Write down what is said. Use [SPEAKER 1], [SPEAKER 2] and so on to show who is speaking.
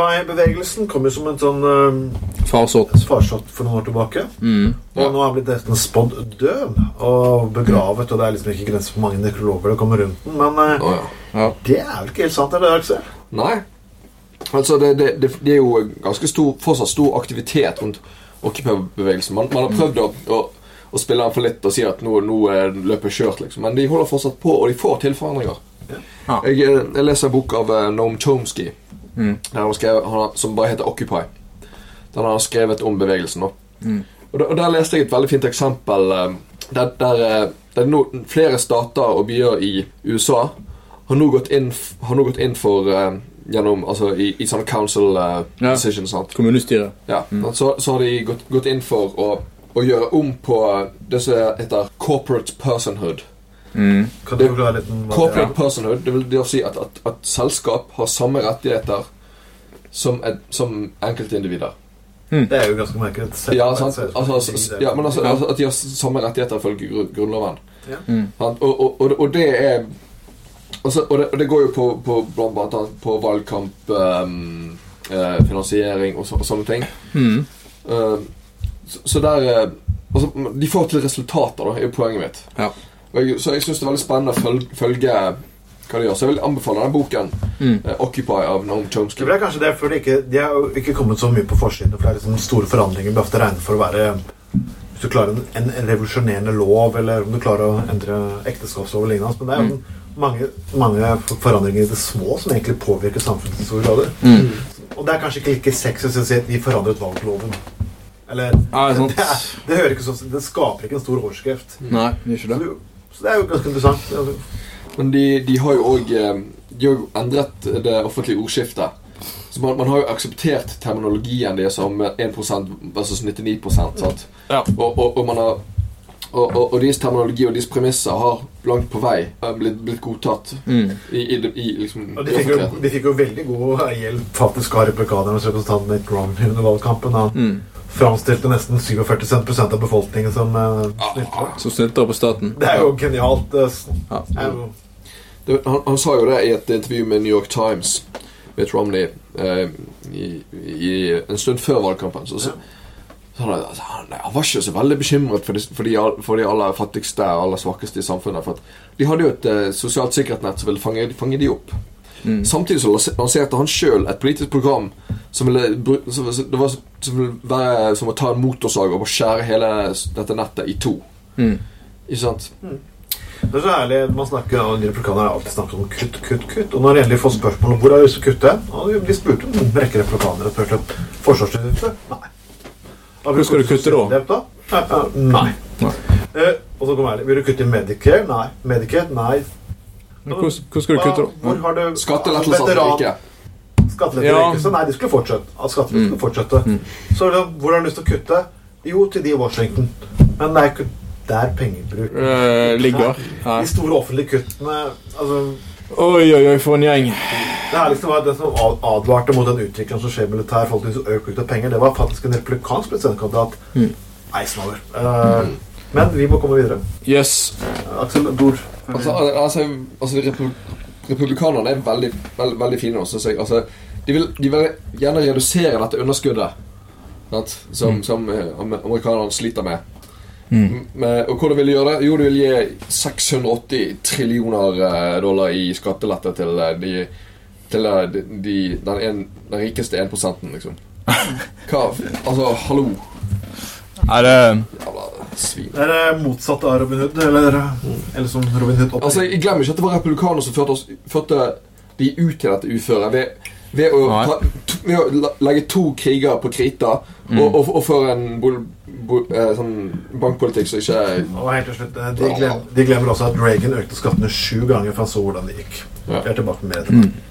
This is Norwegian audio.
[SPEAKER 1] Occupy-bevegelsen kom jo som en sånn eh,
[SPEAKER 2] Farsott.
[SPEAKER 1] farsott for noen år tilbake.
[SPEAKER 2] Mm.
[SPEAKER 1] Og nå er han blitt nesten spådd død og begravet, og det er liksom ikke grenser for hvor mange nekrologer det kommer rundt den. Men eh,
[SPEAKER 3] Å, ja.
[SPEAKER 2] Ja.
[SPEAKER 1] det er vel ikke helt sant, er det, Aksel?
[SPEAKER 3] Nei. Altså, det, det, det, det er jo ganske stor, fortsatt stor aktivitet rundt Occupy-bevegelsen. Man, man har prøvd å, å, å spille den for litt og si at nå, nå er løpet kjørt, liksom. Men de holder fortsatt på, og de får til forandringer.
[SPEAKER 2] Ja.
[SPEAKER 3] Jeg, eh, jeg leser en bok av eh, Noam Chomsky
[SPEAKER 2] Mm.
[SPEAKER 3] der han skrev, han, har- som bare heter Occupy. Den har han skrevet om bevegelsen. Da. Og, der, og der leste jeg et veldig fint eksempel eh, der, der, eh, der nå flere stater og byer i USA har nå gått inn, f- har nå gått inn for eh, gjennom, altså, i, i sånne council eh,
[SPEAKER 2] Ja.
[SPEAKER 3] decisions. Sant?
[SPEAKER 2] Kommunestyret.
[SPEAKER 3] Ja, så, så har de gått, gått inn for å, å gjøre om på det som heter corporate personhood.
[SPEAKER 2] Mm.
[SPEAKER 1] Kan du forklare litt om hva det
[SPEAKER 3] Corporate
[SPEAKER 1] er?
[SPEAKER 3] personhood, det vil det å si at, at, at selskap har samme rettigheter som, et, som enkeltindivider.
[SPEAKER 1] Det er jo ganske merkelig.
[SPEAKER 3] Ja, sant? Altså, altså, s- ja, men altså, altså at de har s- samme rettigheter ifølge gru- Grunnloven.
[SPEAKER 1] Ja.
[SPEAKER 3] Sant? Og, og, og, og det er altså, og, det, og det går jo på, på blant blant annet på valgkamp, ehm, eh, finansiering og, så, og sånne ting.
[SPEAKER 2] Mm.
[SPEAKER 3] Eh, så, så der eh, altså, De får til resultater, da, er jo poenget mitt.
[SPEAKER 2] Ja.
[SPEAKER 3] Og jeg, så jeg syns det er veldig spennende å følge, følge hva de gjør. Så jeg vil anbefale denne boken,
[SPEAKER 2] Mm.
[SPEAKER 3] eh, 'Occupy' av Noam
[SPEAKER 1] Det
[SPEAKER 3] Chomsky.
[SPEAKER 1] er kanskje det, for det ikke, de har jo ikke kommet så mye på forsiden. For det er liksom store forandringer blir ofte regnet for å være Hvis du klarer en, en revolusjonerende lov, eller om du klarer å endre ekteskapslov og lignende. altså, Men det er jo mange, mange forandringer i det små som egentlig påvirker samfunnet i store grader.
[SPEAKER 2] Mm.
[SPEAKER 1] Og det er kanskje ikke like sexy å si at vi forandret valgloven. Eller
[SPEAKER 2] Ja, det er sant.
[SPEAKER 1] det, er, det hører ikke sånn Det skaper ikke en stor overskrift.
[SPEAKER 2] Nei, det er ikke
[SPEAKER 1] Så det,
[SPEAKER 2] det.
[SPEAKER 1] er jo- så det er jo ganske interessant.
[SPEAKER 3] Men de, de har jo eh, òg endret det offentlige ordskiftet. Så man, man har jo akseptert terminologien deres som 1 versus 99 sant?
[SPEAKER 2] Ja.
[SPEAKER 3] Og, og, og man har og, og, og deres terminologi og deres premisser har langt på vei eh, blitt, blitt godtatt
[SPEAKER 2] Mm.
[SPEAKER 3] i, i, det- i liksom
[SPEAKER 1] Og
[SPEAKER 3] i
[SPEAKER 1] de fikk, jo,
[SPEAKER 3] offentligheten.
[SPEAKER 1] de fikk jo veldig god hjelp faktisk av republikanernes representant Mitt Romney under valgkampen. Han
[SPEAKER 2] Mm.
[SPEAKER 1] framstilte nesten 47 prosent av befolkningen som eh, snyltere.
[SPEAKER 2] Som snylter på staten.
[SPEAKER 1] Det er jo genialt. eh, s-
[SPEAKER 2] Ja.
[SPEAKER 1] det er jo,
[SPEAKER 3] Det, han, han sa jo det i et intervju med New York Times Mitt Romney eh, i, i, en stund før valgkampen. Så, så, så han, altså, han, nei, han var ikke så veldig bekymret for de, for, de, all- for de aller fattigste og aller svakeste i samfunnet. For at de hadde jo et eh, sosialt sikkerhetsnett som ville fange, fange de opp.
[SPEAKER 2] Mm.
[SPEAKER 3] Samtidig så lanse- lanserte han sjøl et politisk program som ville, bru- som, som- det var, som ville være som å ta en motorsag og bare skjære hele s- dette nettet i to.
[SPEAKER 2] Mm.
[SPEAKER 3] Ikke sant?
[SPEAKER 1] det er så herlig. Man snakker, ja, de Republikanerne har alltid snakket om kutt, kutt, kutt. Og når de endelig får spørsmål om hvor er det skal kutte, og de blir spurt om en rekke republikanere spurte Forsvarsutgifter? Nei.
[SPEAKER 2] Hvor skal du kutte da?
[SPEAKER 1] Systemhjelp da? Eh, eh, Nei.
[SPEAKER 2] Nei.
[SPEAKER 1] Eh, og så kommer det. Vil du kutte i Medicare? Nei. Medicare? Nei.
[SPEAKER 2] Men Hvor, hvor skal du kutte,
[SPEAKER 1] Hva- Hvor
[SPEAKER 2] da?
[SPEAKER 1] har du
[SPEAKER 3] Mm. Skattelettelser til
[SPEAKER 1] Veteran-
[SPEAKER 3] rike.
[SPEAKER 1] Skattelettelser
[SPEAKER 2] Ja.
[SPEAKER 1] ikke, så nei, de skulle fortsette. At
[SPEAKER 3] Mm.
[SPEAKER 1] skattelettelser skulle fortsette. Så da, hvor har du lyst til å kutte? Jo, til de i Washington. Men det er ikke der pengebruk
[SPEAKER 2] Eh, ligger. Nei.
[SPEAKER 1] De store offentlige kuttene altså,
[SPEAKER 2] Oi, oi, oi, for en gjeng.
[SPEAKER 1] Det her liksom var den som ad- advarte mot den utviklingen som skjer i militær forhold til økt bruk av penger. Det var faktisk en republikansk presidentkandidat.
[SPEAKER 3] Mm.
[SPEAKER 1] Eisenhower. Eh, Men vi må komme videre.
[SPEAKER 2] Yes.
[SPEAKER 1] Aksel Dor.
[SPEAKER 3] Altså, al- altså, altså repu- Republikanerne er veldig, veld, veldig fine nå, synes jeg. Altså, de, vil, de vil gjerne redusere dette underskuddet sant? som, som eh, amer- amerikanerne sliter med. M- med- Og hvordan vil de gjøre det? Jo, de vil gi 680 trillioner eh, dollar i skattelette til, eh, de, til eh, de, de, den, en, den rikeste 1 liksom. Hva Altså, hallo,
[SPEAKER 2] Er det
[SPEAKER 3] jævla svin.
[SPEAKER 1] Det er det motsatte av Robin Hood, eller, eller som Robin Hood opp.
[SPEAKER 3] Mm. Altså, jeg glemmer ikke at det var republikanere som førte, oss, førte de ut til dette uføret ved, ved, å,
[SPEAKER 2] Nei.
[SPEAKER 3] ta, t- ved å la- legge to kriger på krita og, og, og føre en bol, bol, eh, sånn bankpolitikk som ikke er
[SPEAKER 1] Og helt til slutt, eh, de, glem, de glemmer også at Reagan økte skattene sju ganger, for han så hvordan det gikk.
[SPEAKER 3] Ja.
[SPEAKER 1] Vi er tilbake med det.